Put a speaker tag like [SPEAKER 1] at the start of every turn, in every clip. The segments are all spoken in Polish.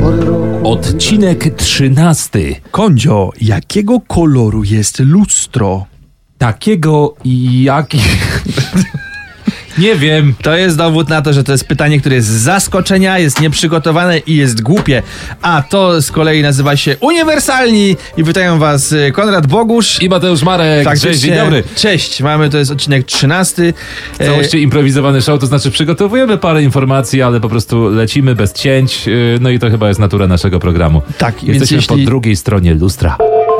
[SPEAKER 1] pory roku.
[SPEAKER 2] Odcinek 13.
[SPEAKER 3] Kondzio, jakiego koloru jest lustro?
[SPEAKER 2] Takiego jak. Nie wiem.
[SPEAKER 3] To jest dowód na to, że to jest pytanie, które jest z zaskoczenia, jest nieprzygotowane i jest głupie. A to z kolei nazywa się Uniwersalni i pytają was y, Konrad Bogusz.
[SPEAKER 2] I Mateusz Marek. Cześć, dzień
[SPEAKER 3] Faktycznie- e,
[SPEAKER 2] dobry.
[SPEAKER 3] Cześć, mamy, to jest odcinek 13.
[SPEAKER 2] W Całości improwizowany show, to znaczy przygotowujemy parę informacji, ale po prostu lecimy bez cięć. yy, No i to chyba jest natura naszego programu.
[SPEAKER 3] Tak, więc
[SPEAKER 2] Jesteśmy
[SPEAKER 3] jeśli-
[SPEAKER 2] po drugiej stronie lustra.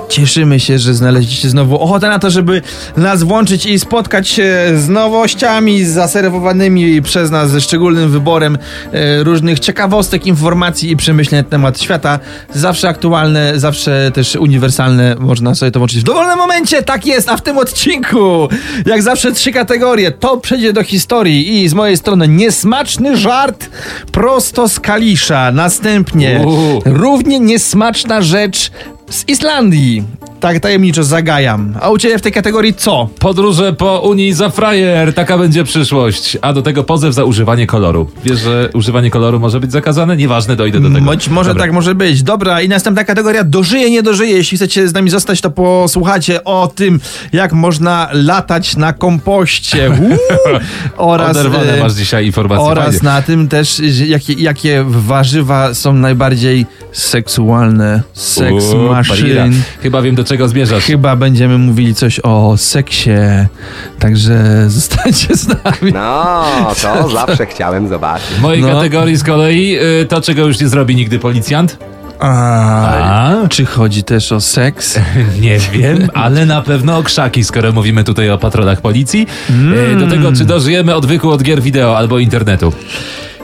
[SPEAKER 3] Cieszymy się, że znaleźliście znowu ochotę na to, żeby nas włączyć i spotkać się z nowościami zaserwowanymi przez nas ze szczególnym wyborem e, różnych ciekawostek, informacji i przemyśleń na temat świata. Zawsze aktualne, zawsze też uniwersalne. Można sobie to włączyć w dowolnym momencie. Tak jest, a w tym odcinku jak zawsze trzy kategorie. To przejdzie do historii i z mojej strony niesmaczny żart prosto z kalisza. Następnie
[SPEAKER 2] Uuu.
[SPEAKER 3] Równie niesmaczna rzecz z Islandii. Tak tajemniczo zagajam. A u ciebie w tej kategorii co?
[SPEAKER 2] Podróże po Unii za frajer, taka będzie przyszłość. A do tego pozew za używanie koloru. Wiesz, że używanie koloru może być zakazane? Nieważne, dojdę do tego.
[SPEAKER 3] Być może
[SPEAKER 2] Dobra.
[SPEAKER 3] tak może być. Dobra, i następna kategoria dożyje, nie dożyje. Jeśli chcecie z nami zostać, to posłuchajcie o tym, jak można latać na kompoście. Uuu! Oraz,
[SPEAKER 2] Oderwane
[SPEAKER 3] e,
[SPEAKER 2] masz dzisiaj informacje.
[SPEAKER 3] oraz
[SPEAKER 2] Fajnie.
[SPEAKER 3] na tym też, e, jakie, jakie warzywa są najbardziej seksualne. Seks
[SPEAKER 2] Uuu, bariera.
[SPEAKER 3] maszyn.
[SPEAKER 2] Chyba wiem, do czego zmierzasz.
[SPEAKER 3] Chyba będziemy mówili coś o seksie, także zostańcie z nami.
[SPEAKER 1] No, to zawsze chciałem zobaczyć.
[SPEAKER 2] W mojej
[SPEAKER 3] No.
[SPEAKER 2] kategorii z kolei y, to, czego już nie zrobi nigdy policjant.
[SPEAKER 3] A,
[SPEAKER 2] A,
[SPEAKER 3] czy chodzi też o seks?
[SPEAKER 2] nie wiem, ale na pewno o krzaki, skoro mówimy tutaj o patrolach policji. Y, Do tego, czy dożyjemy odwyku od gier wideo albo internetu.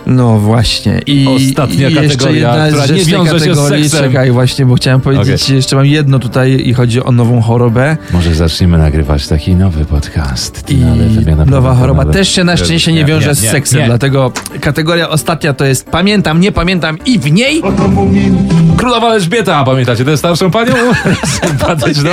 [SPEAKER 3] No właśnie. I
[SPEAKER 2] Ostatnia
[SPEAKER 3] i jeszcze
[SPEAKER 2] kategoria,
[SPEAKER 3] jedna
[SPEAKER 2] która
[SPEAKER 3] rzecz
[SPEAKER 2] nie
[SPEAKER 3] tej
[SPEAKER 2] wiąże się z
[SPEAKER 3] kategorii.
[SPEAKER 2] seksem.
[SPEAKER 3] Czekaj, właśnie, bo chciałem powiedzieć, jeszcze mam jedno tutaj i chodzi o nową chorobę.
[SPEAKER 2] Może zaczniemy nagrywać taki nowy podcast.
[SPEAKER 3] I
[SPEAKER 2] No, ale wymiana
[SPEAKER 3] nowa
[SPEAKER 2] poglądów,
[SPEAKER 3] choroba
[SPEAKER 2] ale-
[SPEAKER 3] też się na szczęście nie wiąże z
[SPEAKER 2] nie,
[SPEAKER 3] seksem,
[SPEAKER 2] nie.
[SPEAKER 3] dlatego kategoria ostatnia to jest pamiętam, nie pamiętam i w niej
[SPEAKER 2] Królowa Elżbieta, pamiętacie tę starszą panią? Sympatyczną?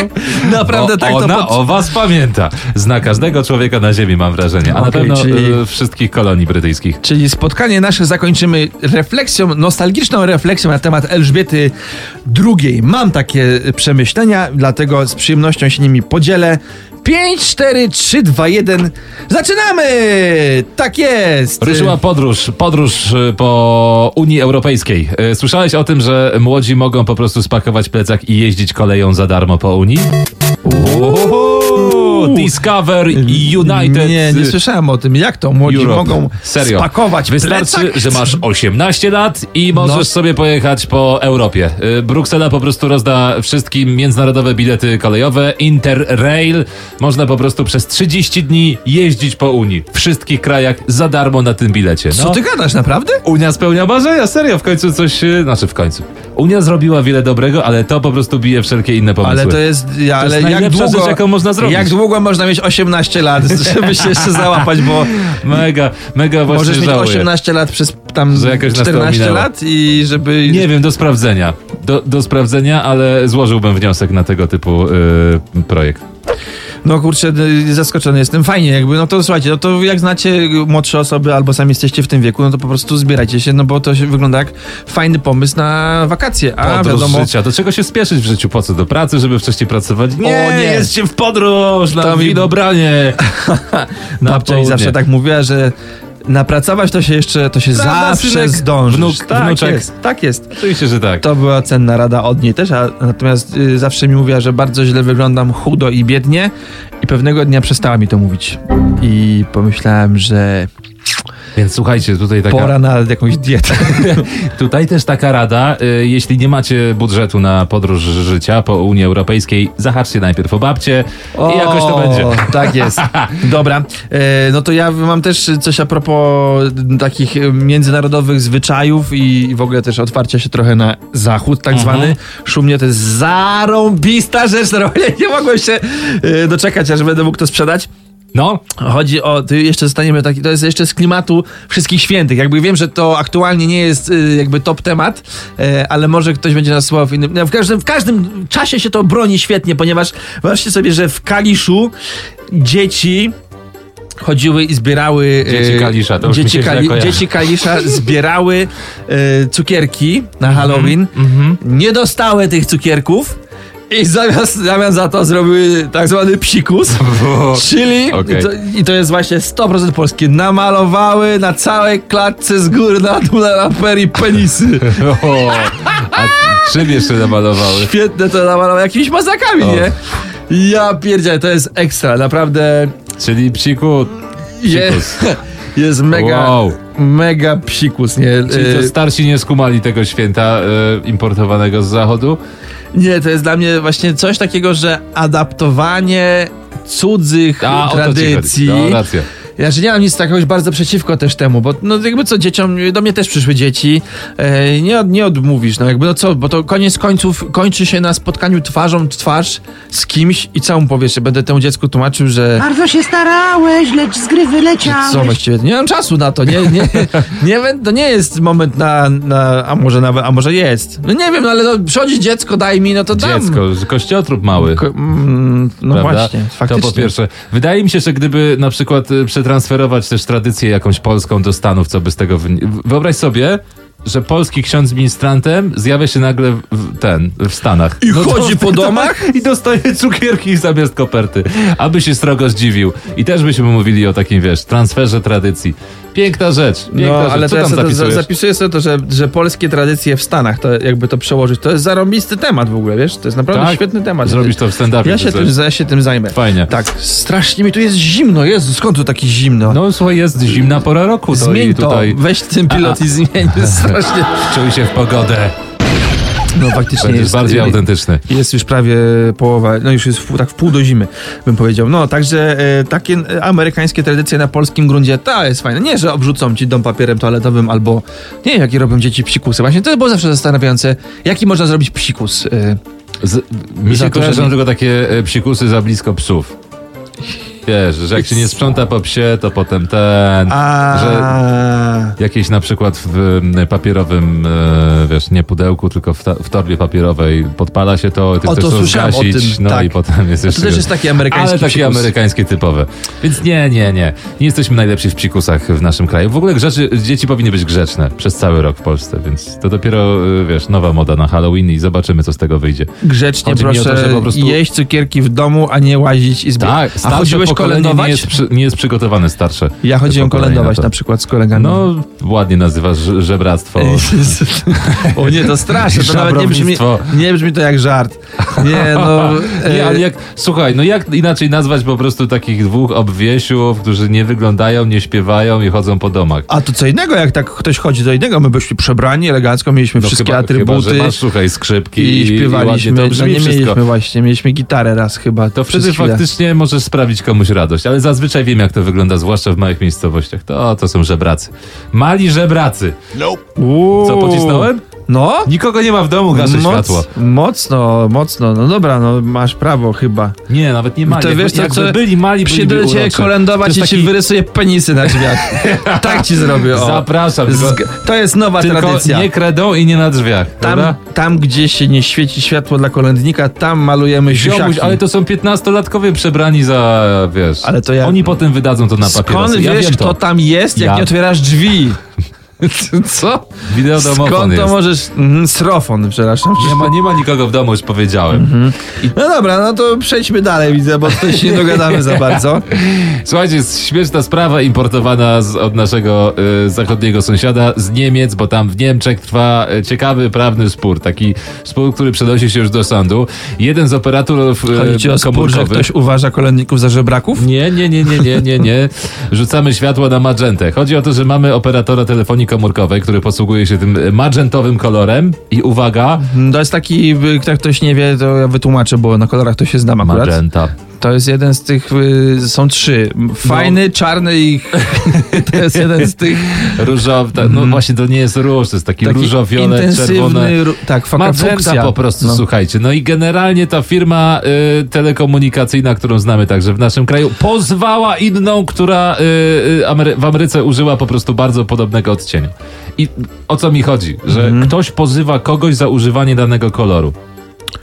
[SPEAKER 3] Naprawdę
[SPEAKER 2] o,
[SPEAKER 3] tak to
[SPEAKER 2] ona
[SPEAKER 3] pod-
[SPEAKER 2] o was pamięta. Zna każdego człowieka na ziemi, mam wrażenie. A na
[SPEAKER 3] Okej,
[SPEAKER 2] pewno
[SPEAKER 3] czyli-
[SPEAKER 2] y, wszystkich kolonii brytyjskich.
[SPEAKER 3] Czyli spotkanie nasze zakończymy refleksją, nostalgiczną refleksją na temat Elżbiety II. Mam takie e, przemyślenia, dlatego z przyjemnością się nimi podzielę. 5, 4, 3, 2, 1. Zaczynamy! Tak jest!
[SPEAKER 2] Ruszyła podróż, podróż y, po Unii Europejskiej. Y, Słyszałeś o tym, że młodzi mogą po prostu spakować plecak i jeździć koleją za darmo po Unii? Uuu, Discover i United.
[SPEAKER 3] Nie, nie
[SPEAKER 2] y,
[SPEAKER 3] słyszałem o tym. Jak to młodzi
[SPEAKER 2] Europe.
[SPEAKER 3] mogą
[SPEAKER 2] Serio.
[SPEAKER 3] spakować
[SPEAKER 2] Wystarczy,
[SPEAKER 3] plecak?
[SPEAKER 2] że masz 18 lat i możesz
[SPEAKER 3] No.
[SPEAKER 2] sobie pojechać po Europie. Y, Bruksela po prostu rozda wszystkim międzynarodowe bilety kolejowe, Interrail. Można po prostu przez 30 dni jeździć po Unii. W wszystkich krajach za darmo na tym bilecie. No.
[SPEAKER 3] Co ty gadasz, naprawdę?
[SPEAKER 2] Unia spełnia marzenia, serio, w końcu coś... y, Znaczy w końcu. Unia zrobiła wiele dobrego, ale to po prostu bije wszelkie inne pomysły.
[SPEAKER 3] Ale to jest, ja- ale jak
[SPEAKER 2] najlepsza
[SPEAKER 3] długo,
[SPEAKER 2] rzecz, jaką można zrobić.
[SPEAKER 3] jak długo można mieć 18 lat, żeby się jeszcze załapać, bo
[SPEAKER 2] Mega, mega właśnie
[SPEAKER 3] Możesz mieć
[SPEAKER 2] żałuję.
[SPEAKER 3] 18 lat przez tam
[SPEAKER 2] Że jakoś nas to
[SPEAKER 3] 14
[SPEAKER 2] ominęło.
[SPEAKER 3] lat i żeby.
[SPEAKER 2] Nie wiem, do sprawdzenia. Do, do sprawdzenia, ale złożyłbym wniosek na tego typu y, projekt.
[SPEAKER 3] No kurczę, y, zaskoczony jestem. Fajnie, jakby, no to słuchajcie, no to jak znacie młodsze osoby albo sami jesteście w tym wieku, no to po prostu zbierajcie się, no bo to się wygląda jak fajny pomysł na wakacje, a
[SPEAKER 2] Podróż
[SPEAKER 3] wiadomo.
[SPEAKER 2] życia. Do czego się spieszyć w życiu? Po co? Do pracy, żeby wcześniej pracować? Nie,
[SPEAKER 3] nie.
[SPEAKER 2] jest się w podróż, na
[SPEAKER 3] To mi-
[SPEAKER 2] widobranie. na
[SPEAKER 3] Babcia i
[SPEAKER 2] południe.
[SPEAKER 3] zawsze tak mówiła, że napracować to się jeszcze, to się
[SPEAKER 2] Prawda,
[SPEAKER 3] zawsze
[SPEAKER 2] synek?
[SPEAKER 3] zdążysz.
[SPEAKER 2] Wnuk,
[SPEAKER 3] tak
[SPEAKER 2] wnuczek.
[SPEAKER 3] jest, tak jest.
[SPEAKER 2] Oczywiście, że tak.
[SPEAKER 3] To była cenna rada od niej też, a natomiast y, zawsze mi mówiła, że bardzo źle wyglądam chudo i biednie i pewnego dnia przestała mi to mówić. I pomyślałem, że
[SPEAKER 2] Więc słuchajcie, tutaj taka...
[SPEAKER 3] pora na jakąś dietę.
[SPEAKER 2] Tutaj też taka rada, y, jeśli nie macie budżetu na podróż życia po Unii Europejskiej, zahaczcie najpierw o babcie i jakoś to będzie.
[SPEAKER 3] Tak jest. Dobra, e, no to ja mam też coś a propos takich e, międzynarodowych zwyczajów i i w ogóle też otwarcia się trochę na zachód tak
[SPEAKER 2] Mhm.
[SPEAKER 3] zwany. Szumnie to jest zarąbista rzecz, normalnie nie mogłem się e, doczekać, aż będę mógł to sprzedać.
[SPEAKER 2] No,
[SPEAKER 3] Chodzi o, ty jeszcze zostaniemy taki, to jest jeszcze z klimatu wszystkich świętych. Jakby wiem, że to aktualnie nie jest y, jakby top temat, e, ale może ktoś będzie nas słuchał w innym. no, W każdym, w każdym czasie się to broni świetnie, ponieważ wyobraźcie sobie, że w Kaliszu dzieci chodziły i zbierały. e,
[SPEAKER 2] Dzieci Kalisza, to już mi
[SPEAKER 3] dzieci,
[SPEAKER 2] się źle kojarzy.
[SPEAKER 3] dzieci Kalisza zbierały e, cukierki na
[SPEAKER 2] Mhm,
[SPEAKER 3] Halloween. Nie dostały tych cukierków. I zamiast, zamiast za to zrobiły tak zwany psikus, czyli,
[SPEAKER 2] Okej.
[SPEAKER 3] i, to, i to jest właśnie 100% polskie, namalowały na całej klatce z góry na dół na ramperii penisy.
[SPEAKER 2] O, a czym jeszcze namalowały?
[SPEAKER 3] Świetne to namalowały jakimiś mazakami,
[SPEAKER 2] O.
[SPEAKER 3] nie? Ja pierdzielę, to jest ekstra, naprawdę
[SPEAKER 2] Czyli psiku,
[SPEAKER 3] jest, jest mega,
[SPEAKER 2] Wow.
[SPEAKER 3] mega psikus, nie?
[SPEAKER 2] czyli to
[SPEAKER 3] Y,
[SPEAKER 2] starsi nie skumali tego święta e, importowanego z zachodu?
[SPEAKER 3] Nie, to jest dla mnie właśnie coś takiego, że adaptowanie cudzych
[SPEAKER 2] A, o to ci chodzi.
[SPEAKER 3] tradycji.
[SPEAKER 2] No, racja.
[SPEAKER 3] Ja że nie mam nic takiego bardzo przeciwko też temu, bo no jakby co dzieciom, do mnie też przyszły dzieci, e, nie, od- nie odmówisz, no jakby no co, bo to koniec końców kończy się na spotkaniu twarzą w twarz z kimś i co mu powiesz, będę temu dziecku tłumaczył, że
[SPEAKER 4] Bardzo się starałeś, lecz z gry
[SPEAKER 3] co
[SPEAKER 4] wyleciałeś.
[SPEAKER 3] właściwie, nie mam czasu na to, nie, nie, nie, wiem, to nie jest moment na, na a może nawet, a może jest, no nie wiem, no ale no, przychodzi dziecko, daj mi, no to dam.
[SPEAKER 2] Dziecko, z- kościotrup mały.
[SPEAKER 3] Ko- mm, no
[SPEAKER 2] prawda?
[SPEAKER 3] właśnie, faktycznie.
[SPEAKER 2] To po pierwsze. Wydaje mi się, że gdyby na przykład y, przetransferować też tradycję jakąś polską do Stanów, co by z tego wyni- Wyobraź sobie, że polski ksiądz ministrantem zjawia się nagle w- w, ten, w Stanach. No
[SPEAKER 3] I chodzi po domach?
[SPEAKER 2] I dostaje cukierki zamiast koperty. Aby się srogo zdziwił. I też byśmy mówili o takim, wiesz, transferze tradycji. Piękna rzecz. Piękna
[SPEAKER 3] No,
[SPEAKER 2] rzecz.
[SPEAKER 3] ale
[SPEAKER 2] co
[SPEAKER 3] teraz
[SPEAKER 2] tam
[SPEAKER 3] to- za-
[SPEAKER 2] zapisujesz?
[SPEAKER 3] zapisuję sobie to, że, że polskie tradycje w Stanach, to jakby to przełożyć, to jest zarąbisty temat w ogóle, wiesz? To jest naprawdę
[SPEAKER 2] Tak?
[SPEAKER 3] świetny temat.
[SPEAKER 2] Zrobisz to w stand-upie.
[SPEAKER 3] ja się,
[SPEAKER 2] to
[SPEAKER 3] tym,
[SPEAKER 2] coś.
[SPEAKER 3] ja się tym zajmę.
[SPEAKER 2] Fajnie.
[SPEAKER 3] Tak, strasznie mi tu jest zimno, Jezu, skąd tu takie zimno?
[SPEAKER 2] No słuchaj, jest zimna pora roku. to
[SPEAKER 3] zmień
[SPEAKER 2] i
[SPEAKER 3] to,
[SPEAKER 2] tutaj
[SPEAKER 3] weź ten pilot i zmień, jest strasznie.
[SPEAKER 2] Czuj się w pogodę.
[SPEAKER 3] No faktycznie
[SPEAKER 2] Będziesz bardziej autentyczny.
[SPEAKER 3] Jest już prawie połowa, no już jest w, pół- tak w pół do zimy, bym powiedział. No, także e, takie e, amerykańskie tradycje na polskim gruncie, ta jest fajna. Nie, że obrzucą ci dom papierem toaletowym albo, nie wiem, jakie robią dzieci psikusy. Właśnie to było zawsze zastanawiające, jaki można zrobić psikus. E,
[SPEAKER 2] Z, mi
[SPEAKER 3] Za
[SPEAKER 2] się
[SPEAKER 3] to,
[SPEAKER 2] kojarzą
[SPEAKER 3] że-
[SPEAKER 2] tylko takie e, psikusy za blisko psów. Wiesz, że jak się nie sprząta po psie, to potem ten...
[SPEAKER 3] a...
[SPEAKER 2] Że jakieś na przykład w m, papierowym, e, wiesz, nie pudełku, tylko w, ta, w torbie papierowej podpala się to, ty
[SPEAKER 3] O, to
[SPEAKER 2] chcesz to
[SPEAKER 3] słyszałem o
[SPEAKER 2] zgasić,
[SPEAKER 3] tym,
[SPEAKER 2] no
[SPEAKER 3] tak.
[SPEAKER 2] i potem jest jeszcze...
[SPEAKER 3] To też jest taki amerykański
[SPEAKER 2] Ale takie
[SPEAKER 3] psikus.
[SPEAKER 2] amerykańskie typowe. Więc nie, nie, nie. Nie jesteśmy najlepsi w psikusach w naszym kraju. W ogóle grzeczy, dzieci powinny być grzeczne przez cały rok w Polsce, więc to dopiero, e, wiesz, nowa moda na Halloween i zobaczymy, co z tego wyjdzie.
[SPEAKER 3] Grzecznie
[SPEAKER 2] Chodzi mi o to,
[SPEAKER 3] proszę
[SPEAKER 2] że po prostu-
[SPEAKER 3] jeść cukierki w domu, a nie łazić i zbierać.
[SPEAKER 2] Tak,
[SPEAKER 3] a
[SPEAKER 2] starsze
[SPEAKER 3] chodziłeś
[SPEAKER 2] pokolenie
[SPEAKER 3] kolędować?
[SPEAKER 2] Nie jest, przy, nie jest przygotowane starsze.
[SPEAKER 3] Ja chodziłem
[SPEAKER 2] pokolenie
[SPEAKER 3] kolędować
[SPEAKER 2] to.
[SPEAKER 3] na przykład z kolegami.
[SPEAKER 2] No, ładnie nazywasz ż- żebractwo.
[SPEAKER 3] O nie, to straszne, to nawet nie brzmi,
[SPEAKER 2] Szabrownictwo.
[SPEAKER 3] nie brzmi to jak żart. Nie, no...
[SPEAKER 2] Nie,
[SPEAKER 3] e,
[SPEAKER 2] ale jak, słuchaj, no jak inaczej nazwać po prostu takich dwóch obwiesiów, którzy nie wyglądają, nie śpiewają i chodzą po domach?
[SPEAKER 3] A to co innego, jak tak ktoś chodzi do innego, my byliśmy przebrani elegancko, mieliśmy
[SPEAKER 2] No
[SPEAKER 3] wszystkie
[SPEAKER 2] chyba,
[SPEAKER 3] atrybuty
[SPEAKER 2] Chyba, że masz, słuchaj, skrzypki
[SPEAKER 3] i śpiewaliśmy.
[SPEAKER 2] I ładnie to
[SPEAKER 3] no,
[SPEAKER 2] brzmi
[SPEAKER 3] nie
[SPEAKER 2] wszystko.
[SPEAKER 3] mieliśmy właśnie, mieliśmy gitarę raz chyba.
[SPEAKER 2] To
[SPEAKER 3] przez
[SPEAKER 2] wtedy
[SPEAKER 3] chwilę.
[SPEAKER 2] faktycznie możesz sprawić komuś radość, ale zazwyczaj wiem, jak to wygląda, zwłaszcza w małych miejscowościach. To, to są żebracy. Mali żebracy.
[SPEAKER 3] Uuu.
[SPEAKER 2] Co, pocisnąłem?
[SPEAKER 3] No?
[SPEAKER 2] Nikogo nie ma w domu, gaszę
[SPEAKER 3] Moc-
[SPEAKER 2] światło.
[SPEAKER 3] Mocno, mocno. No dobra, no masz prawo chyba.
[SPEAKER 2] Nie, nawet nie mali.
[SPEAKER 3] to
[SPEAKER 2] Jakby-
[SPEAKER 3] wiesz, to
[SPEAKER 2] jakby
[SPEAKER 3] co,
[SPEAKER 2] byli mali,
[SPEAKER 3] Przyjdę
[SPEAKER 2] byliby
[SPEAKER 3] do ciebie
[SPEAKER 2] uroczy.
[SPEAKER 3] kolędować
[SPEAKER 2] To
[SPEAKER 3] i
[SPEAKER 2] jest
[SPEAKER 3] ci
[SPEAKER 2] taki-
[SPEAKER 3] wyrysuję penisy na drzwiach. tak ci zrobię. O.
[SPEAKER 2] Zapraszam, tylko,
[SPEAKER 3] Zg- to jest nowa
[SPEAKER 2] tylko
[SPEAKER 3] tradycja.
[SPEAKER 2] nie kredą i nie na drzwiach,
[SPEAKER 3] Tam,
[SPEAKER 2] prawda?
[SPEAKER 3] tam, gdzie się nie świeci światło dla kolędnika, tam malujemy
[SPEAKER 2] Ziomuś,
[SPEAKER 3] ziomki.
[SPEAKER 2] ale to są 15-latkowie przebrani za, wiesz,
[SPEAKER 3] Ale to ja-
[SPEAKER 2] oni potem wydadzą to na papierosy.
[SPEAKER 3] Skąd
[SPEAKER 2] ja
[SPEAKER 3] wiesz,
[SPEAKER 2] wiem
[SPEAKER 3] kto
[SPEAKER 2] to.
[SPEAKER 3] tam jest, jak
[SPEAKER 2] Ja.
[SPEAKER 3] nie otwierasz drzwi? Co?
[SPEAKER 2] Wideo domofon
[SPEAKER 3] Skąd to
[SPEAKER 2] jest.
[SPEAKER 3] możesz... Mhm, srofon, przepraszam.
[SPEAKER 2] Nie ma, nie ma nikogo w domu, już powiedziałem.
[SPEAKER 3] No dobra, no to przejdźmy dalej, widzę, bo tutaj się nie dogadamy za bardzo.
[SPEAKER 2] Słuchajcie, jest śmieszna sprawa importowana z, od naszego y, zachodniego sąsiada z Niemiec, bo tam w Niemczech trwa y, ciekawy prawny spór. Taki spór, który przenosi się już do sądu. Jeden z operatorów y,
[SPEAKER 3] Chodzi ci o spór, że
[SPEAKER 2] komórkowych...
[SPEAKER 3] ktoś uważa kolędników za żebraków?
[SPEAKER 2] Nie, nie, nie, nie, nie, nie, nie. Rzucamy światło na magentę. Chodzi o to, że mamy operatora telefonii komórkowej, który posługuje się tym y, magentowym kolorem i uwaga,
[SPEAKER 3] To jest taki, y, jak ktoś nie wie, to ja wytłumaczę, bo na kolorach to się znam akurat.
[SPEAKER 2] magenta.
[SPEAKER 3] To jest jeden z tych, y, są trzy.
[SPEAKER 2] No.
[SPEAKER 3] Fajny, czarny i... to jest jeden z tych
[SPEAKER 2] Różowy, ta, no właśnie to nie jest róż, to jest taki,
[SPEAKER 3] Mhm. taki
[SPEAKER 2] różowiolet, czerwone.
[SPEAKER 3] ru- Tak, faka,
[SPEAKER 2] Magenta
[SPEAKER 3] fuksja.
[SPEAKER 2] po prostu,
[SPEAKER 3] No.
[SPEAKER 2] słuchajcie. No i generalnie ta firma y, telekomunikacyjna, którą znamy także w naszym kraju, pozwała inną, która y, y, Amery- w Ameryce użyła po prostu bardzo podobnego odcienia.
[SPEAKER 3] Mhm.
[SPEAKER 2] I o co mi chodzi? Że ktoś pozywa kogoś za używanie danego koloru.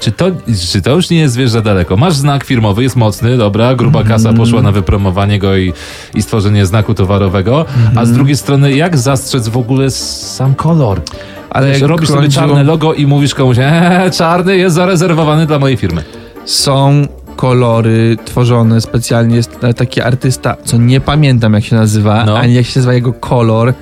[SPEAKER 2] Czy to, czy to już nie jest, wiesz, za daleko? Masz znak firmowy, jest mocny, dobra, gruba
[SPEAKER 3] Mhm.
[SPEAKER 2] kasa poszła na wypromowanie go i, i stworzenie znaku towarowego, a
[SPEAKER 3] Mhm.
[SPEAKER 2] z drugiej strony jak zastrzec w ogóle sam kolor?
[SPEAKER 3] Ale
[SPEAKER 2] Wiesz, robisz sobie
[SPEAKER 3] chodziło-
[SPEAKER 2] czarne logo i mówisz komuś, eee, czarny jest zarezerwowany dla mojej firmy.
[SPEAKER 3] Są kolory tworzone specjalnie. Jest taki artysta, co nie pamiętam jak się nazywa,
[SPEAKER 2] No.
[SPEAKER 3] ani jak się nazywa jego kolor,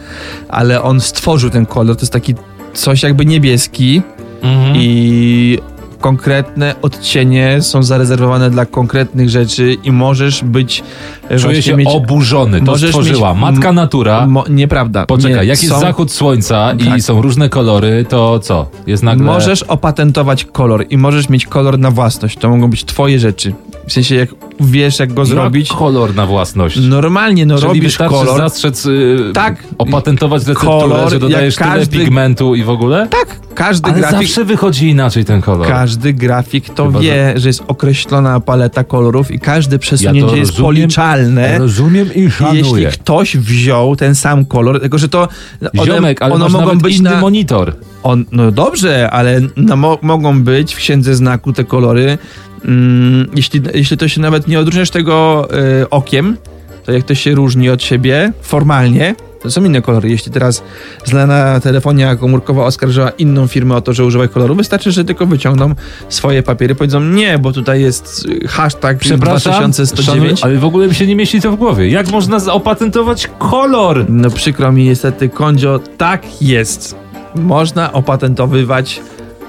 [SPEAKER 3] ale on stworzył ten kolor. To jest taki coś jakby niebieski
[SPEAKER 2] Mhm.
[SPEAKER 3] Mhm.
[SPEAKER 2] I
[SPEAKER 3] i konkretne odcienie są zarezerwowane dla konkretnych rzeczy i możesz być e,
[SPEAKER 2] czuję
[SPEAKER 3] właśnie
[SPEAKER 2] się
[SPEAKER 3] mieć...
[SPEAKER 2] oburzony, to
[SPEAKER 3] możesz
[SPEAKER 2] stworzyła
[SPEAKER 3] mieć-
[SPEAKER 2] matka natura.
[SPEAKER 3] Mo, nieprawda.
[SPEAKER 2] Poczekaj,
[SPEAKER 3] nie,
[SPEAKER 2] jak jest
[SPEAKER 3] są-
[SPEAKER 2] zachód słońca i
[SPEAKER 3] Tak.
[SPEAKER 2] są różne kolory, to co? Jest nagle...
[SPEAKER 3] Możesz opatentować kolor i możesz mieć kolor na własność. To mogą być twoje rzeczy. W sensie, jak wiesz, jak go zrobić.
[SPEAKER 2] Jak kolor na własność.
[SPEAKER 3] Normalnie, no
[SPEAKER 2] Czyli
[SPEAKER 3] robisz
[SPEAKER 2] wystarczy
[SPEAKER 3] kolor.
[SPEAKER 2] zastrzec, yy,
[SPEAKER 3] Tak.
[SPEAKER 2] opatentować recepturę,
[SPEAKER 3] Kolor,
[SPEAKER 2] że
[SPEAKER 3] jak
[SPEAKER 2] dodajesz
[SPEAKER 3] każdy-
[SPEAKER 2] tyle pigmentu i w ogóle?
[SPEAKER 3] Tak, każdy
[SPEAKER 2] Ale
[SPEAKER 3] grafik.
[SPEAKER 2] zawsze wychodzi inaczej ten kolor.
[SPEAKER 3] Każdy grafik to
[SPEAKER 2] Chyba, że-
[SPEAKER 3] wie, że... jest określona paleta kolorów i każde przesunięcie jest
[SPEAKER 2] rozumiem,
[SPEAKER 3] policzalne.
[SPEAKER 2] Rozumiem i
[SPEAKER 3] I jeśli
[SPEAKER 2] szanuję.
[SPEAKER 3] ktoś wziął ten sam kolor, tylko że to no, one,
[SPEAKER 2] Ziomek, ale
[SPEAKER 3] one
[SPEAKER 2] masz
[SPEAKER 3] mogą
[SPEAKER 2] nawet
[SPEAKER 3] być
[SPEAKER 2] inny
[SPEAKER 3] na,
[SPEAKER 2] monitor.
[SPEAKER 3] on, no dobrze, ale no, mo, mogą być w księdze znaku te kolory. Mm, jeśli, jeśli to się nawet nie odróżniasz tego y, okiem, to jak to się różni od siebie formalnie, to są inne kolory. Jeśli teraz znana telefonia komórkowa oskarżyła inną firmę o to, że używa koloru, wystarczy, że tylko wyciągną swoje papiery, powiedzą nie, bo tutaj jest y, hashtag
[SPEAKER 2] Przepraszam,
[SPEAKER 3] 2109.
[SPEAKER 2] szanuję, ale w ogóle mi się nie mieści to w głowie. Jak można z- opatentować kolor?
[SPEAKER 3] No przykro mi niestety, Kondzio, tak jest. Można opatentowywać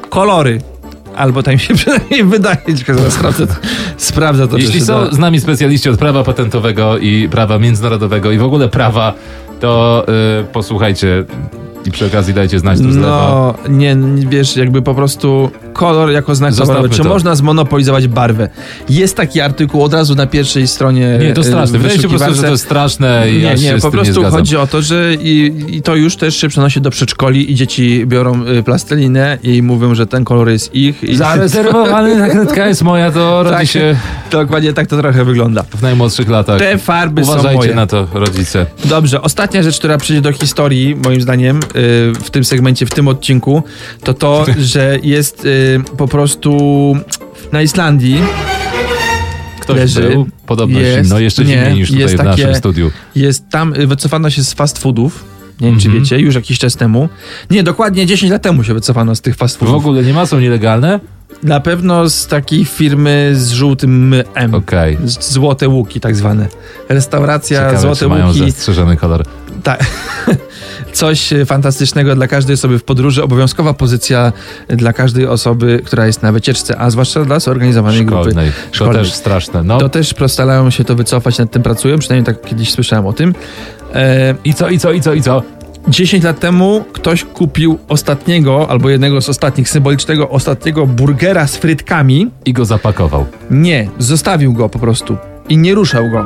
[SPEAKER 3] kolory. Albo tak mi się przynajmniej wydaje, tylko zaraz sprawdzę, sprawdzę to,
[SPEAKER 2] Jeśli
[SPEAKER 3] czy się
[SPEAKER 2] są
[SPEAKER 3] da.
[SPEAKER 2] z nami specjaliści od prawa patentowego i prawa międzynarodowego i w ogóle prawa, to y, posłuchajcie i przy okazji dajcie znać tu z lewa.
[SPEAKER 3] No, nie, nie, wiesz, jakby po prostu kolor jako znak
[SPEAKER 2] Zostawmy
[SPEAKER 3] towarowy. Czy
[SPEAKER 2] to.
[SPEAKER 3] można zmonopolizować barwę? Jest taki artykuł od razu na pierwszej stronie
[SPEAKER 2] Nie, to
[SPEAKER 3] e,
[SPEAKER 2] straszne. Wydaje się po prostu, że to
[SPEAKER 3] wyszukiwarce.
[SPEAKER 2] jest straszne i ja
[SPEAKER 3] nie,
[SPEAKER 2] się
[SPEAKER 3] nie,
[SPEAKER 2] z
[SPEAKER 3] po
[SPEAKER 2] tym Y, nie
[SPEAKER 3] prostu
[SPEAKER 2] zgadzam.
[SPEAKER 3] chodzi o to, że i, i to już też się przenosi do przedszkoli i dzieci biorą y, plastelinę i mówią, że ten kolor jest ich. I
[SPEAKER 2] Zarezerwowany ta kredka jest moja, to rodzi
[SPEAKER 3] Tak.
[SPEAKER 2] się
[SPEAKER 3] Dokładnie tak to trochę wygląda.
[SPEAKER 2] w najmłodszych latach.
[SPEAKER 3] Te farby są
[SPEAKER 2] Uważajcie
[SPEAKER 3] moje.
[SPEAKER 2] na to, rodzice.
[SPEAKER 3] Dobrze, ostatnia rzecz, która przyjdzie do historii, moim zdaniem, y, w tym segmencie, w tym odcinku, to to, że jest y, po prostu na Islandii
[SPEAKER 2] Ktoś
[SPEAKER 3] Leży.
[SPEAKER 2] był, podobno
[SPEAKER 3] Jest.
[SPEAKER 2] zimno, jeszcze
[SPEAKER 3] Nie,
[SPEAKER 2] zimniej niż tutaj
[SPEAKER 3] jest
[SPEAKER 2] w naszym
[SPEAKER 3] takie-
[SPEAKER 2] studiu.
[SPEAKER 3] jest tam, y, wycofano się z fast foodów. Nie wiem, czy
[SPEAKER 2] Mhm.
[SPEAKER 3] wiecie, już jakiś czas temu. Nie, dokładnie 10 lat temu się wycofano z tych fast
[SPEAKER 2] W
[SPEAKER 3] foodów.
[SPEAKER 2] ogóle nie ma, są nielegalne?
[SPEAKER 3] Na pewno z takiej firmy z żółtym M.
[SPEAKER 2] Okej.
[SPEAKER 3] Z- Złote łuki tak zwane. Restauracja
[SPEAKER 2] Ciekawe,
[SPEAKER 3] Złote
[SPEAKER 2] czy mają
[SPEAKER 3] łuki.
[SPEAKER 2] zastrzeżony kolor.
[SPEAKER 3] Tak. Coś e, fantastycznego dla każdej osoby w podróży, obowiązkowa pozycja e, dla każdej osoby, która jest na wycieczce, a zwłaszcza dla zorganizowanej grupy.
[SPEAKER 2] Szkolnej. To
[SPEAKER 3] Szkolnej.
[SPEAKER 2] też straszne. No.
[SPEAKER 3] To też postarają się to wycofać, nad tym pracują, przynajmniej tak kiedyś słyszałem o tym. E,
[SPEAKER 2] I co, i co, i co, i co?
[SPEAKER 3] 10 lat temu ktoś kupił ostatniego, albo jednego z ostatnich, symbolicznego ostatniego burgera z frytkami.
[SPEAKER 2] I go zapakował.
[SPEAKER 3] Nie, zostawił go po prostu i nie ruszał go.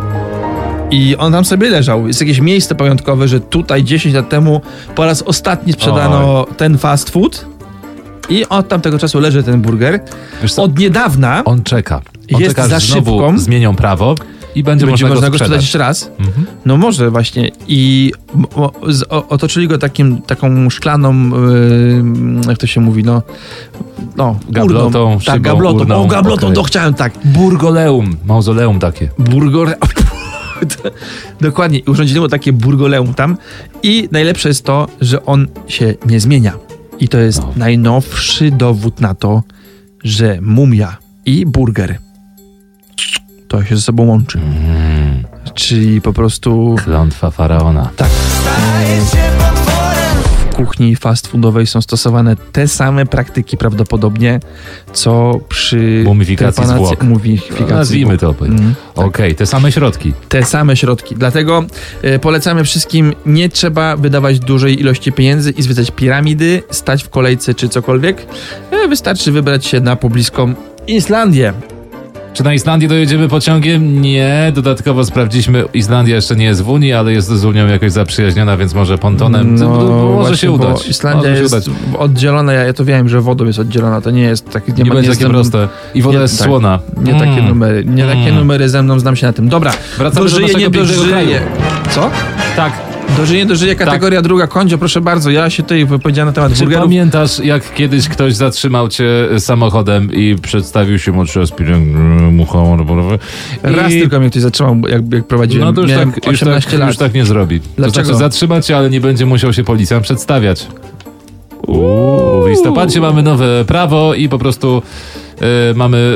[SPEAKER 3] I on tam sobie leżał. Jest jakieś miejsce pamiątkowe, że tutaj 10 lat temu po raz ostatni sprzedano ten fast food. I od tamtego czasu leży ten burger.
[SPEAKER 2] Wiesz co?
[SPEAKER 3] Od niedawna
[SPEAKER 2] On czeka. On
[SPEAKER 3] Jest
[SPEAKER 2] czeka,
[SPEAKER 3] za
[SPEAKER 2] aż znowu
[SPEAKER 3] szybką.
[SPEAKER 2] zmienią prawo i będzie,
[SPEAKER 3] będzie
[SPEAKER 2] można,
[SPEAKER 3] można
[SPEAKER 2] go
[SPEAKER 3] go sprzedać
[SPEAKER 2] sprzedać.
[SPEAKER 3] jeszcze raz.
[SPEAKER 2] Mhm.
[SPEAKER 3] No może właśnie. I m- o, z- o, otoczyli go takim, taką szklaną, yy, jak to się mówi, no, no
[SPEAKER 2] Gablotą,
[SPEAKER 3] urną.
[SPEAKER 2] szybą,
[SPEAKER 3] tak, gablotą.
[SPEAKER 2] urną,
[SPEAKER 3] o, gablotą,
[SPEAKER 2] okej.
[SPEAKER 3] to chciałem tak.
[SPEAKER 2] Burgoleum, mauzoleum takie.
[SPEAKER 3] Burgor. Dokładnie, i urządzili mu takie burgoleum tam. I najlepsze jest to, że on się nie zmienia. I to jest
[SPEAKER 2] No.
[SPEAKER 3] najnowszy dowód na to, że mumia i burger to się ze sobą łączy.
[SPEAKER 2] Mm,
[SPEAKER 3] Czyli po prostu
[SPEAKER 2] klątwa faraona.
[SPEAKER 3] w kuchni fast foodowej są stosowane te same praktyki prawdopodobnie, co przy
[SPEAKER 2] Mumifikacji
[SPEAKER 3] trepanacji-
[SPEAKER 2] zwłok.
[SPEAKER 3] Mumifikacji
[SPEAKER 2] Nazwijmy
[SPEAKER 3] zwłok.
[SPEAKER 2] to. tak. Okej,
[SPEAKER 3] Mhm.
[SPEAKER 2] te same środki.
[SPEAKER 3] te same środki. Dlatego e, polecamy wszystkim, nie trzeba wydawać dużej ilości pieniędzy i zwiedzać piramidy, stać w kolejce czy cokolwiek. E, Wystarczy wybrać się na pobliską Islandię.
[SPEAKER 2] Czy na Islandię dojedziemy pociągiem? Nie. Dodatkowo sprawdziliśmy, Islandia jeszcze nie jest w Unii, ale jest z Unią jakoś zaprzyjaźniona, więc może pontonem. To- to może
[SPEAKER 3] No, właśnie,
[SPEAKER 2] się
[SPEAKER 3] bo
[SPEAKER 2] udać.
[SPEAKER 3] Islandia
[SPEAKER 2] może się
[SPEAKER 3] jest
[SPEAKER 2] udać.
[SPEAKER 3] oddzielona, ja, ja to wiem, że wodą jest oddzielona, to nie jest tak...
[SPEAKER 2] Nie,
[SPEAKER 3] ma-
[SPEAKER 2] będzie
[SPEAKER 3] jest
[SPEAKER 2] takie
[SPEAKER 3] ze mną-
[SPEAKER 2] proste. I woda
[SPEAKER 3] nie-
[SPEAKER 2] jest
[SPEAKER 3] tak.
[SPEAKER 2] słona.
[SPEAKER 3] Nie takie
[SPEAKER 2] Mm.
[SPEAKER 3] numery, nie takie
[SPEAKER 2] Mm.
[SPEAKER 3] numery ze mną, znam się na tym. Dobra,
[SPEAKER 2] Wracamy do
[SPEAKER 3] dożyję,
[SPEAKER 2] naszego
[SPEAKER 3] nie
[SPEAKER 2] pięknego
[SPEAKER 3] dożyję.
[SPEAKER 2] kraju.
[SPEAKER 3] Co?
[SPEAKER 2] Tak.
[SPEAKER 3] Do żyje, do żyje, kategoria druga, kondzio, proszę bardzo, ja się tutaj powiedziałem na temat
[SPEAKER 2] Czy
[SPEAKER 3] burgerów.
[SPEAKER 2] pamiętasz, jak kiedyś ktoś zatrzymał cię e, samochodem i przedstawił się młodszy aspirant e, Muchał Arborowy?
[SPEAKER 3] Raz
[SPEAKER 2] I...
[SPEAKER 3] tylko mnie ktoś zatrzymał, jak, jak prowadziłem,
[SPEAKER 2] No to już
[SPEAKER 3] miałem
[SPEAKER 2] tak, już,
[SPEAKER 3] 18
[SPEAKER 2] tak,
[SPEAKER 3] lat.
[SPEAKER 2] już tak nie zrobi. To
[SPEAKER 3] Dlaczego?
[SPEAKER 2] znaczy zatrzyma cię, ale nie będzie musiał się policjant przedstawiać. Uuu, w listopadzie mamy nowe prawo i po prostu e, mamy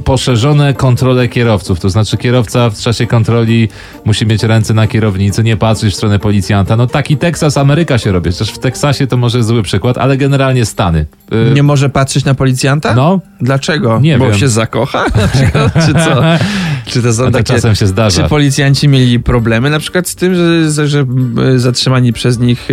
[SPEAKER 2] e, poszerzone kontrole kierowców. To znaczy kierowca w czasie kontroli musi mieć ręce na kierownicy, nie patrzeć w stronę policjanta. No taki Teksas, Ameryka się robi. Chociaż w Teksasie to może zły przykład, ale generalnie Stany. E,
[SPEAKER 3] Nie może patrzeć na policjanta?
[SPEAKER 2] No,
[SPEAKER 3] Dlaczego?
[SPEAKER 2] Nie
[SPEAKER 3] Bo
[SPEAKER 2] wiem.
[SPEAKER 3] się zakocha? Na przykład, czy co? Czy to
[SPEAKER 2] a
[SPEAKER 3] są
[SPEAKER 2] tak
[SPEAKER 3] takie...
[SPEAKER 2] czasem się zdarza.
[SPEAKER 3] Czy policjanci mieli problemy na przykład z tym, że, że, że e, zatrzymani przez nich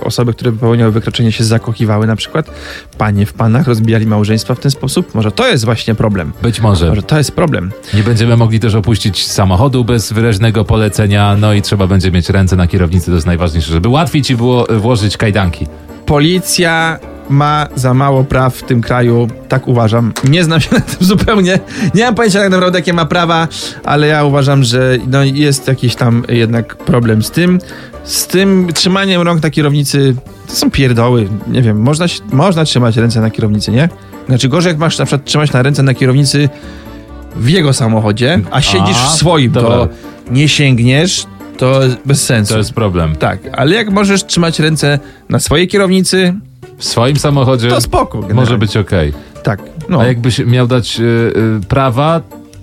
[SPEAKER 3] e, osoby, które popełniały wykroczenie się zakochiwały na przykład? Panie w panach rozbijali małżeństwa w ten sposób? Może to jest właśnie problem.
[SPEAKER 2] Być może.
[SPEAKER 3] Może to jest problem.
[SPEAKER 2] Nie będziemy mogli też opuścić samochodu bez wyraźnego polecenia, no i trzeba będzie mieć ręce na kierownicy, to jest najważniejsze, żeby łatwiej ci było e, włożyć kajdanki.
[SPEAKER 3] Policja ma za mało praw w tym kraju, tak uważam. Nie znam się na tym zupełnie. Nie mam pojęcia tak naprawdę, jakie ma prawa, ale ja uważam, że no, jest jakiś tam jednak problem z tym. Z tym trzymaniem rąk na kierownicy to są pierdoły. Nie wiem, można, się- można trzymać ręce na kierownicy, nie? Znaczy gorzej, jak masz na przykład trzymać na ręce na kierownicy w jego samochodzie, a siedzisz
[SPEAKER 2] A,
[SPEAKER 3] w swoim,
[SPEAKER 2] dobra.
[SPEAKER 3] to nie sięgniesz, to bez sensu.
[SPEAKER 2] To jest problem.
[SPEAKER 3] Tak, ale jak możesz trzymać ręce na swojej kierownicy,
[SPEAKER 2] W swoim samochodzie
[SPEAKER 3] to spoko. generalnie.
[SPEAKER 2] E, może być okej.
[SPEAKER 3] Tak. No.
[SPEAKER 2] A jakbyś miał dać e, e, prawa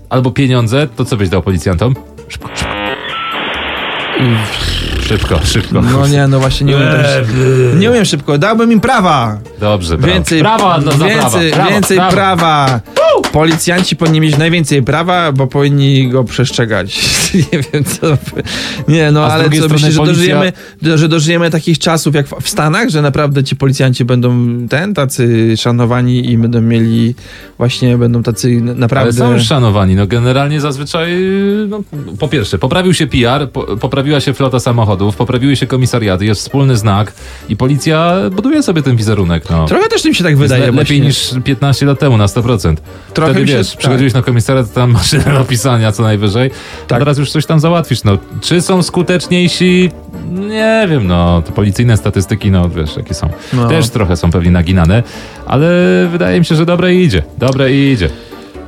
[SPEAKER 2] albo pieniądze, to co byś dał policjantom? Szybko, szybko. Szybko, szybko.
[SPEAKER 3] no nie, no właśnie nie umiem tak szy- Nie umiem szybko. Dałbym im prawa.
[SPEAKER 2] Dobrze, brawo.
[SPEAKER 3] Więcej
[SPEAKER 2] prawa dla za prawa.
[SPEAKER 3] więcej,
[SPEAKER 2] Brawo,
[SPEAKER 3] więcej
[SPEAKER 2] brawo.
[SPEAKER 3] prawa. Policjanci powinni mieć najwięcej prawa, bo powinni go przestrzegać. nie wiem co. Nie, no
[SPEAKER 2] A z
[SPEAKER 3] ale
[SPEAKER 2] drugiej
[SPEAKER 3] co
[SPEAKER 2] strony
[SPEAKER 3] myślisz, że
[SPEAKER 2] policja-
[SPEAKER 3] dożyjemy, że dożyjemy takich czasów jak w- w Stanach, że naprawdę ci policjanci będą ten tacy szanowani i będą mieli właśnie będą tacy n- naprawdę
[SPEAKER 2] Ale są już szanowani. No generalnie zazwyczaj, no, po pierwsze, poprawił się PR, po, poprawiła się flota samochodów, poprawiły się komisariaty, jest wspólny znak i policja buduje sobie ten wizerunek. No.
[SPEAKER 3] Trochę też mi się tak wydaje.
[SPEAKER 2] Le-
[SPEAKER 3] właśnie.
[SPEAKER 2] lepiej niż 15 lat temu na 100%.
[SPEAKER 3] Trochę
[SPEAKER 2] Wtedy
[SPEAKER 3] mi się-
[SPEAKER 2] wiesz,
[SPEAKER 3] tak.
[SPEAKER 2] przychodziłeś na komisariat, tam maszyna do pisania co najwyżej, a
[SPEAKER 3] Tak.
[SPEAKER 2] teraz już coś tam załatwisz. No. Czy są skuteczniejsi? Nie wiem, no, to policyjne statystyki, no wiesz, jakie są.
[SPEAKER 3] No.
[SPEAKER 2] Też trochę są pewnie naginane, ale wydaje mi się, że dobre idzie. Dobre idzie.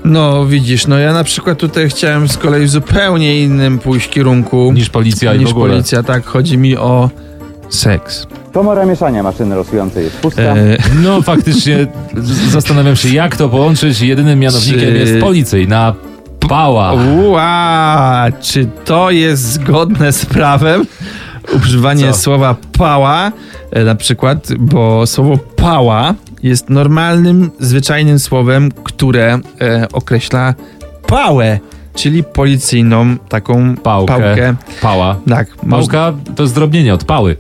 [SPEAKER 3] No widzisz, no ja na przykład tutaj chciałem z kolei w zupełnie innym pójść kierunku
[SPEAKER 2] Niż policja i
[SPEAKER 3] niż
[SPEAKER 2] w ogóle.
[SPEAKER 3] policja, tak, chodzi mi o seks.
[SPEAKER 5] Komora mieszania maszyny losującej jest pusta.
[SPEAKER 3] E,
[SPEAKER 2] No faktycznie z- zastanawiam się, jak to połączyć. Jedynym mianownikiem
[SPEAKER 3] Czy-
[SPEAKER 2] jest policyjna pała.
[SPEAKER 3] ua, czy to jest zgodne z prawem? Używanie
[SPEAKER 2] Co?
[SPEAKER 3] słowa pała e, na przykład, bo słowo pała jest normalnym, zwyczajnym słowem, które e, określa pałę, czyli policyjną taką
[SPEAKER 2] Pałkę.
[SPEAKER 3] pałkę.
[SPEAKER 2] Pała.
[SPEAKER 3] Tak, można-
[SPEAKER 2] Pałka to zdrobnienie od pały.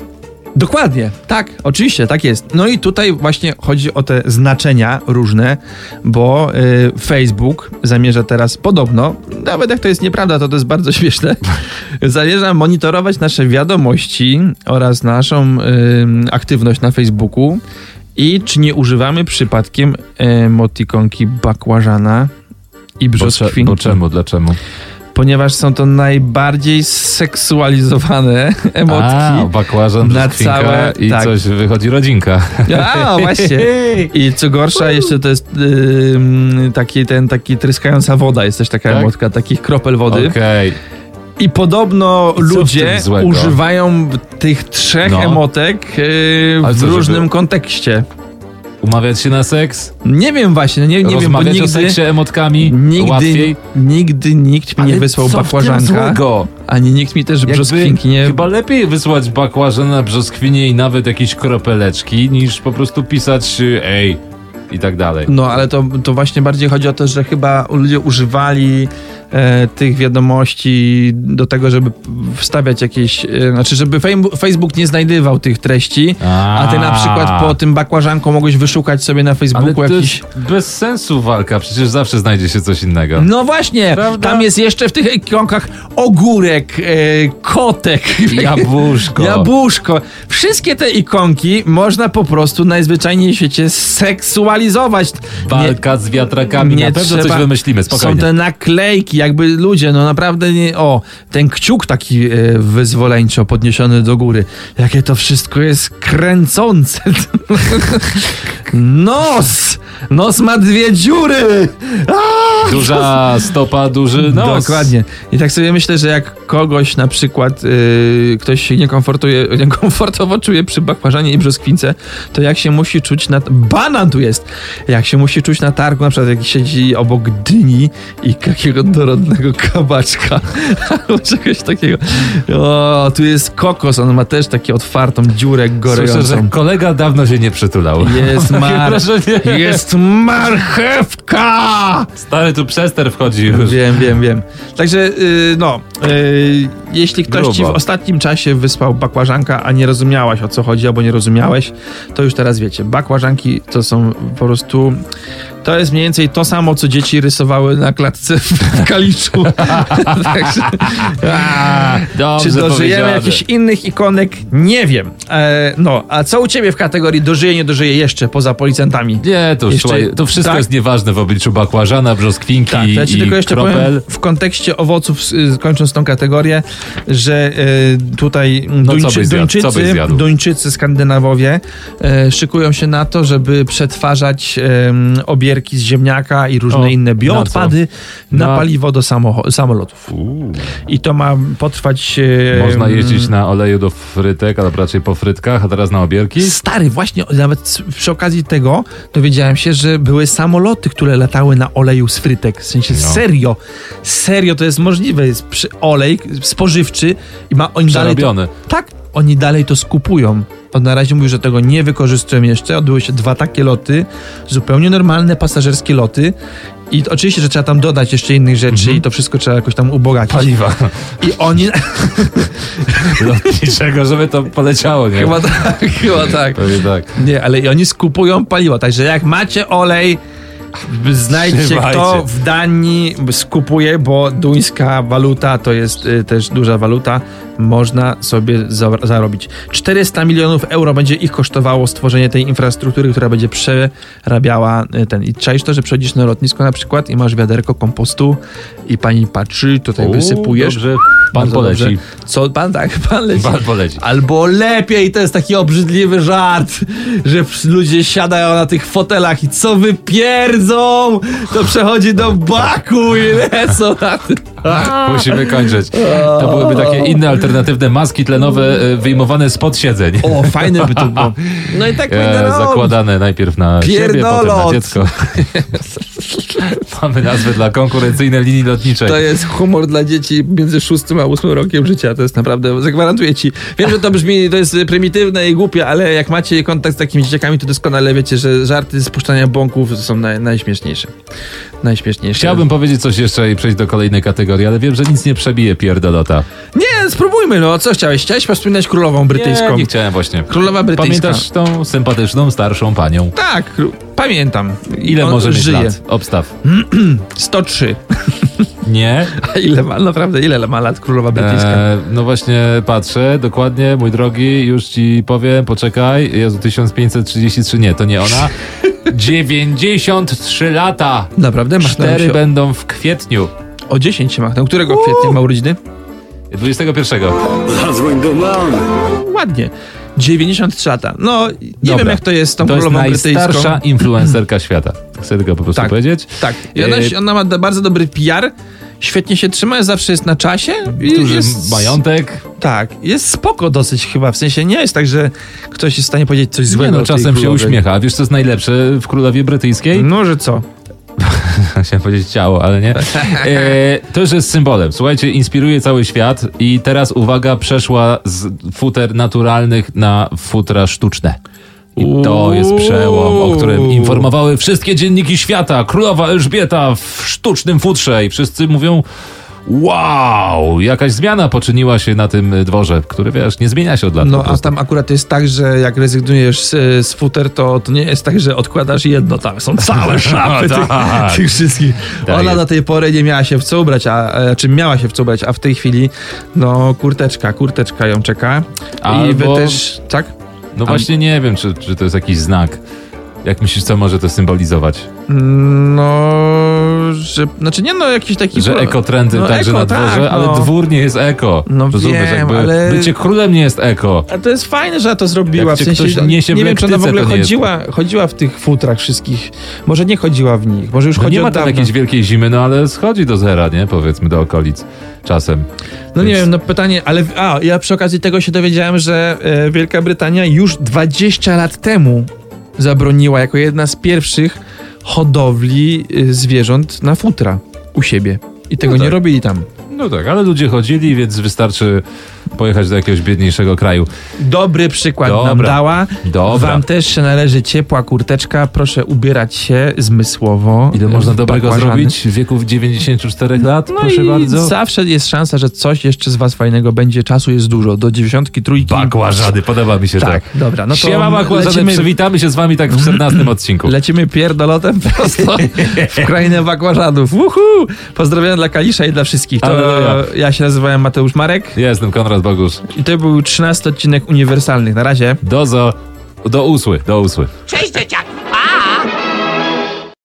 [SPEAKER 3] Dokładnie, tak, oczywiście, tak jest. No i tutaj właśnie chodzi o te znaczenia różne, bo y, Facebook zamierza teraz podobno, nawet jak to jest nieprawda, to to jest bardzo śmieszne, zamierza monitorować nasze wiadomości oraz naszą y, aktywność na Facebooku i czy nie używamy przypadkiem y, emotikonki bakłażana i
[SPEAKER 2] Bo, cze-
[SPEAKER 3] brzoskwinki
[SPEAKER 2] bo czemu, dlaczego?
[SPEAKER 3] ponieważ są to najbardziej seksualizowane
[SPEAKER 2] A,
[SPEAKER 3] emotki.
[SPEAKER 2] bakłażan,
[SPEAKER 3] Na
[SPEAKER 2] brzoskwinka
[SPEAKER 3] całe-
[SPEAKER 2] i
[SPEAKER 3] tak.
[SPEAKER 2] coś wychodzi rodzinka.
[SPEAKER 3] A, właśnie. I co gorsza, jeszcze to jest ym, taki, ten, taki tryskająca woda, jest też taka
[SPEAKER 2] Tak?
[SPEAKER 3] emotka, takich kropel wody.
[SPEAKER 2] Okej.
[SPEAKER 3] I
[SPEAKER 2] I
[SPEAKER 3] podobno
[SPEAKER 2] co w tym
[SPEAKER 3] ludzie
[SPEAKER 2] złego?
[SPEAKER 3] używają tych trzech
[SPEAKER 2] No.
[SPEAKER 3] emotek yy,
[SPEAKER 2] Ale
[SPEAKER 3] w
[SPEAKER 2] co, żeby-
[SPEAKER 3] różnym kontekście.
[SPEAKER 2] Umawiać się na seks?
[SPEAKER 3] Nie wiem właśnie, no nie, nie wiem, bo
[SPEAKER 2] rozmawiać o
[SPEAKER 3] nigdy,
[SPEAKER 2] seksie emotkami?
[SPEAKER 3] nigdy,
[SPEAKER 2] łatwiej?
[SPEAKER 3] nigdy nikt mi nie wysłał
[SPEAKER 2] co w tym
[SPEAKER 3] bakłażanka,
[SPEAKER 2] złego?
[SPEAKER 3] ani nikt mi też
[SPEAKER 2] Jakby
[SPEAKER 3] brzoskwinki nie...
[SPEAKER 2] Chyba lepiej wysłać bakłażana, brzoskwinie i nawet jakieś kropeleczki, niż po prostu pisać y, ej i tak dalej.
[SPEAKER 3] No, ale to, to właśnie bardziej chodzi o to, że chyba ludzie używali e, tych wiadomości do tego, żeby wstawiać jakieś. E, znaczy, żeby fejm- Facebook nie znajdywał tych treści, a ty na przykład po tym bakłażanku mogłeś wyszukać sobie na
[SPEAKER 2] Ale
[SPEAKER 3] Facebooku
[SPEAKER 2] to
[SPEAKER 3] jakiś.
[SPEAKER 2] jest bez sensu walka, przecież zawsze znajdzie się coś innego.
[SPEAKER 3] No właśnie,
[SPEAKER 2] Prawda?
[SPEAKER 3] tam jest jeszcze w tych ikonkach ogórek, e, kotek,
[SPEAKER 2] Jabłuszko.
[SPEAKER 3] Jabłuszko. Wszystkie te ikonki można po prostu najzwyczajniej w świecie seksualizować. Nie-
[SPEAKER 2] Walka z wiatrakami, na pewno coś wymyślimy,
[SPEAKER 3] Są
[SPEAKER 2] spokojnie.
[SPEAKER 3] te naklejki, jakby ludzie, no naprawdę nie, o, ten kciuk taki e, wyzwoleńczo podniesiony do góry, jakie to wszystko jest kręcące. Nos! Nos ma dwie dziury! A!
[SPEAKER 2] Duża stopa, duży y, nos.
[SPEAKER 3] Dokładnie. I tak sobie myślę, że jak kogoś na przykład y, ktoś się niekomfortuje, niekomfortowo czuje przy bakłażanie i brzoskwince, to jak się musi czuć na... Banan tu jest! Jak się musi czuć na targu, na przykład jak siedzi obok dyni i takiego dorodnego kabaczka albo czegoś takiego. O, tu jest kokos, on ma też takie otwartą dziurę
[SPEAKER 2] Słyszę, że
[SPEAKER 3] gorejącą.
[SPEAKER 2] kolega dawno się nie przytulał.
[SPEAKER 3] Jest mar...
[SPEAKER 2] wrażenie.
[SPEAKER 3] Jest marchewka!
[SPEAKER 2] Stary, tu przester wchodzi już.
[SPEAKER 3] Wiem, wiem, wiem. Także y, no, y, jeśli ktoś ci w
[SPEAKER 2] Grubo.
[SPEAKER 3] ostatnim czasie wyspał bakłażanka, a nie rozumiałaś o co chodzi, albo nie rozumiałeś, to już teraz wiecie. Bakłażanki to są po prostu. To jest mniej więcej to samo, co dzieci rysowały na klatce w kaliczu. Także, a,
[SPEAKER 2] Dobrze
[SPEAKER 3] czy dożyjemy
[SPEAKER 2] powiedziane.
[SPEAKER 3] jakichś innych ikonek? Nie wiem. E, no, a co u ciebie w kategorii dożyje, nie dożyje jeszcze poza policjantami?
[SPEAKER 2] Nie, to, już,
[SPEAKER 3] Jeszcze-
[SPEAKER 2] słuchaj, to wszystko
[SPEAKER 3] tak?
[SPEAKER 2] jest nieważne w obliczu bakłażana, brzoskwinki
[SPEAKER 3] Tak, to ja ci
[SPEAKER 2] i
[SPEAKER 3] tylko jeszcze
[SPEAKER 2] kropel.
[SPEAKER 3] powiem w kontekście owoców, y, kończąc tą kategorię, że y, tutaj
[SPEAKER 2] No, co
[SPEAKER 3] Duńczy,
[SPEAKER 2] byś zjadł? Co byś
[SPEAKER 3] Duńczycy,
[SPEAKER 2] zjadł?
[SPEAKER 3] Duńczycy, Skandynawowie y, szykują się na to, żeby przetwarzać em, obierki z ziemniaka i różne
[SPEAKER 2] O,
[SPEAKER 3] inne bioodpady na,
[SPEAKER 2] Na-
[SPEAKER 3] paliwo do samocho- samolotów. I to ma potrwać... y,
[SPEAKER 2] Można jeździć na oleju do frytek, ale raczej po frytkach, a teraz na obierki.
[SPEAKER 3] Stary, właśnie nawet przy okazji tego dowiedziałem się, że były samoloty, które latały na oleju z frytek. W sensie
[SPEAKER 2] No.
[SPEAKER 3] serio, serio to jest możliwe. Jest przy, olej spożywczy i ma oni dalej. To,
[SPEAKER 2] Przerobione.
[SPEAKER 3] tak, oni dalej to skupują. On na razie mówił, że tego nie wykorzystują jeszcze. Odbyły się dwa takie loty, zupełnie normalne pasażerskie loty. I t- oczywiście, że trzeba tam dodać jeszcze innych rzeczy i to wszystko trzeba jakoś tam ubogacić.
[SPEAKER 2] Paliwa
[SPEAKER 3] I oni...
[SPEAKER 2] lotniczego, żeby to poleciało, nie?
[SPEAKER 3] chyba tak, chyba tak.
[SPEAKER 2] Pewnie tak.
[SPEAKER 3] Nie, ale i oni skupują paliwo. Także jak macie olej, znajdźcie
[SPEAKER 2] Trzymajcie.
[SPEAKER 3] kto w Danii skupuje, bo duńska waluta to jest y, też duża waluta. Można sobie za zarobić. 400 milionów euro będzie ich kosztowało stworzenie tej infrastruktury, która będzie przerabiała y, ten. I czaisz to, że przechodzisz na lotnisko na przykład i masz wiaderko kompostu i pani patrzy, tutaj
[SPEAKER 2] U,
[SPEAKER 3] wysypujesz.
[SPEAKER 2] Dobrze, pan
[SPEAKER 3] Bardzo
[SPEAKER 2] poleci.
[SPEAKER 3] dobrze. Co pan tak, pan leci.
[SPEAKER 2] Pan poleci.
[SPEAKER 3] Albo lepiej, to jest taki obrzydliwy żart, że ps- ludzie siadają na tych fotelach i co wypierdzą, to przechodzi do baku i lecą na tym.
[SPEAKER 2] Musimy kończyć. To byłyby takie inne alternatywne maski tlenowe y, wyjmowane spod siedzeń.
[SPEAKER 3] O, fajne by to było. No i tak powinno
[SPEAKER 2] E,
[SPEAKER 3] robić.
[SPEAKER 2] zakładane najpierw na siebie, potem na
[SPEAKER 3] Pierdolot.
[SPEAKER 2] dziecko. Mamy nazwę dla konkurencyjnej linii lotniczej.
[SPEAKER 3] To jest humor dla dzieci między 6 a 8 rokiem życia. To jest naprawdę, zagwarantuję ci. Wiem, że to brzmi, to jest prymitywne i głupie, ale jak macie kontakt z takimi dzieciakami, to doskonale wiecie, że żarty z puszczania bąków są naj, najśmieszniejsze. Najśmieszniejsze.
[SPEAKER 2] Chciałbym powiedzieć coś jeszcze i przejść do kolejnej kategorii, ale wiem, że nic nie przebije pierdolota.
[SPEAKER 3] Nie, spróbujmy, no co chciałeś? Chciałeś wspominać królową brytyjską.
[SPEAKER 2] Nie, nie chciałem właśnie.
[SPEAKER 3] Królowa brytyjska.
[SPEAKER 2] Pamiętasz tą sympatyczną, starszą panią?
[SPEAKER 3] Tak, kró- pamiętam.
[SPEAKER 2] Ile
[SPEAKER 3] On
[SPEAKER 2] może mieć
[SPEAKER 3] żyje?
[SPEAKER 2] lat? Obstaw.
[SPEAKER 3] 103.
[SPEAKER 2] Nie?
[SPEAKER 3] A ile ma, naprawdę, ile ma lat królowa brytyjska?
[SPEAKER 2] E, no właśnie patrzę, dokładnie, mój drogi, już ci powiem, poczekaj. Jezu, 1533, nie, to nie ona. 93 lata.
[SPEAKER 3] Naprawdę masz na
[SPEAKER 2] Cztery
[SPEAKER 3] się...
[SPEAKER 2] będą w kwietniu.
[SPEAKER 3] O 10 się machnął. Którego kwietnia ma urodziny?
[SPEAKER 2] 21.
[SPEAKER 1] Zadzwoń do mamy.
[SPEAKER 3] Ładnie. 93 lata. No, nie
[SPEAKER 2] Dobra.
[SPEAKER 3] wiem jak to jest z tą
[SPEAKER 2] To jest
[SPEAKER 3] królową brytyjską.
[SPEAKER 2] najstarsza influencerka świata. Chcę tylko po prostu
[SPEAKER 3] Tak.
[SPEAKER 2] powiedzieć.
[SPEAKER 3] Tak. I ona,
[SPEAKER 2] E,
[SPEAKER 3] się- ona ma da- bardzo dobry PR. Świetnie się trzyma, zawsze jest na czasie. i
[SPEAKER 2] Duży
[SPEAKER 3] jest...
[SPEAKER 2] majątek.
[SPEAKER 3] Tak, jest spoko dosyć chyba. W sensie nie jest tak, że ktoś jest w stanie powiedzieć coś
[SPEAKER 2] Nie
[SPEAKER 3] złego.
[SPEAKER 2] no,
[SPEAKER 3] o tej
[SPEAKER 2] czasem się
[SPEAKER 3] królowej.
[SPEAKER 2] uśmiecha. A Wiesz, co jest najlepsze w królowie brytyjskiej?
[SPEAKER 3] No, że co?
[SPEAKER 2] Mm. Chciałem powiedzieć ciało, ale nie. E, to już jest symbolem. Słuchajcie, inspiruje cały świat i teraz uwaga przeszła z futer naturalnych na futra sztuczne. I to jest przełom, o którym informowały wszystkie dzienniki świata. Królowa Elżbieta w sztucznym futrze i wszyscy mówią wow, jakaś zmiana poczyniła się na tym dworze, który wiesz, nie zmienia się od lat. po
[SPEAKER 3] No a
[SPEAKER 2] prostu.
[SPEAKER 3] tam akurat jest tak, że jak rezygnujesz z, e, z futer, to, to nie jest tak, że odkładasz jedno, tam są całe szafy tych,
[SPEAKER 2] Tak.
[SPEAKER 3] tych wszystkich.
[SPEAKER 2] Tak
[SPEAKER 3] Ona
[SPEAKER 2] jest.
[SPEAKER 3] do tej pory nie miała się w co ubrać, a e, czym miała się w co ubrać, a w tej chwili no kurteczka, kurteczka ją czeka. I wy
[SPEAKER 2] Albo-
[SPEAKER 3] też, tak?
[SPEAKER 2] No właśnie nie wiem, czy, czy to jest jakiś znak. Jak myślisz, co może to symbolizować?
[SPEAKER 3] No, że... Znaczy nie no, jakiś taki...
[SPEAKER 2] Że ekotrendy
[SPEAKER 3] no,
[SPEAKER 2] także
[SPEAKER 3] eko,
[SPEAKER 2] na dworze,
[SPEAKER 3] tak,
[SPEAKER 2] ale
[SPEAKER 3] no.
[SPEAKER 2] dwór nie jest eko.
[SPEAKER 3] No
[SPEAKER 2] Rozumiesz,
[SPEAKER 3] wiem,
[SPEAKER 2] jakby
[SPEAKER 3] ale-
[SPEAKER 2] bycie królem nie jest eko.
[SPEAKER 3] A to jest fajne, że to zrobiła.
[SPEAKER 2] Jak
[SPEAKER 3] w
[SPEAKER 2] cię
[SPEAKER 3] sensie,
[SPEAKER 2] ktoś niesie w
[SPEAKER 3] nie wiem, czy ona w
[SPEAKER 2] lektyce,
[SPEAKER 3] ogóle
[SPEAKER 2] to nie jest- tak.
[SPEAKER 3] chodziła, chodziła w tych futrach wszystkich. Może nie chodziła w nich, może już
[SPEAKER 2] No
[SPEAKER 3] chodzi
[SPEAKER 2] nie ma
[SPEAKER 3] od
[SPEAKER 2] tam
[SPEAKER 3] dawna.
[SPEAKER 2] jakiejś wielkiej zimy, no ale schodzi do zera, nie? Powiedzmy do okolic czasem.
[SPEAKER 3] No nie
[SPEAKER 2] Więc-
[SPEAKER 3] wiem, no pytanie, ale a, ja przy okazji tego się dowiedziałem, że e, Wielka Brytania już 20 lat temu zabroniła jako jedna z pierwszych hodowli e, zwierząt na futra u siebie. I tego nie
[SPEAKER 2] tak.
[SPEAKER 3] robili tam.
[SPEAKER 2] No tak, ale ludzie chodzili, więc wystarczy pojechać do jakiegoś biedniejszego kraju.
[SPEAKER 3] Dobry przykład nam
[SPEAKER 2] Dobra.
[SPEAKER 3] dała.
[SPEAKER 2] Dobra.
[SPEAKER 3] Wam też się należy ciepła kurteczka. Proszę ubierać się zmysłowo.
[SPEAKER 2] Ile
[SPEAKER 3] e,
[SPEAKER 2] można
[SPEAKER 3] w
[SPEAKER 2] dobrego
[SPEAKER 3] bakłażany.
[SPEAKER 2] zrobić w wieku 94 lat?
[SPEAKER 3] No
[SPEAKER 2] proszę
[SPEAKER 3] i
[SPEAKER 2] bardzo.
[SPEAKER 3] zawsze jest szansa, że coś jeszcze z was fajnego będzie. Czasu jest dużo. Do dziewięćdziesiątki trójki.
[SPEAKER 2] Bakłażany, podoba mi się to.
[SPEAKER 3] Tak, dobra. No to
[SPEAKER 2] Siema bakłażany,
[SPEAKER 3] lecimy-
[SPEAKER 2] przywitamy się z wami tak w 14 odcinku.
[SPEAKER 3] Lecimy pierdolotem prosto w krainę bakłażanów. Uhu! Pozdrawiam dla Kalisza i dla wszystkich. To
[SPEAKER 2] Aleluja.
[SPEAKER 3] ja się nazywałem Mateusz Marek
[SPEAKER 2] Ja jestem Konrad Bogusz.
[SPEAKER 3] i to był 13 odcinek uniwersalnych. Na razie.
[SPEAKER 2] Dozo, do usły, do usły.
[SPEAKER 6] Cześć dzieciaki!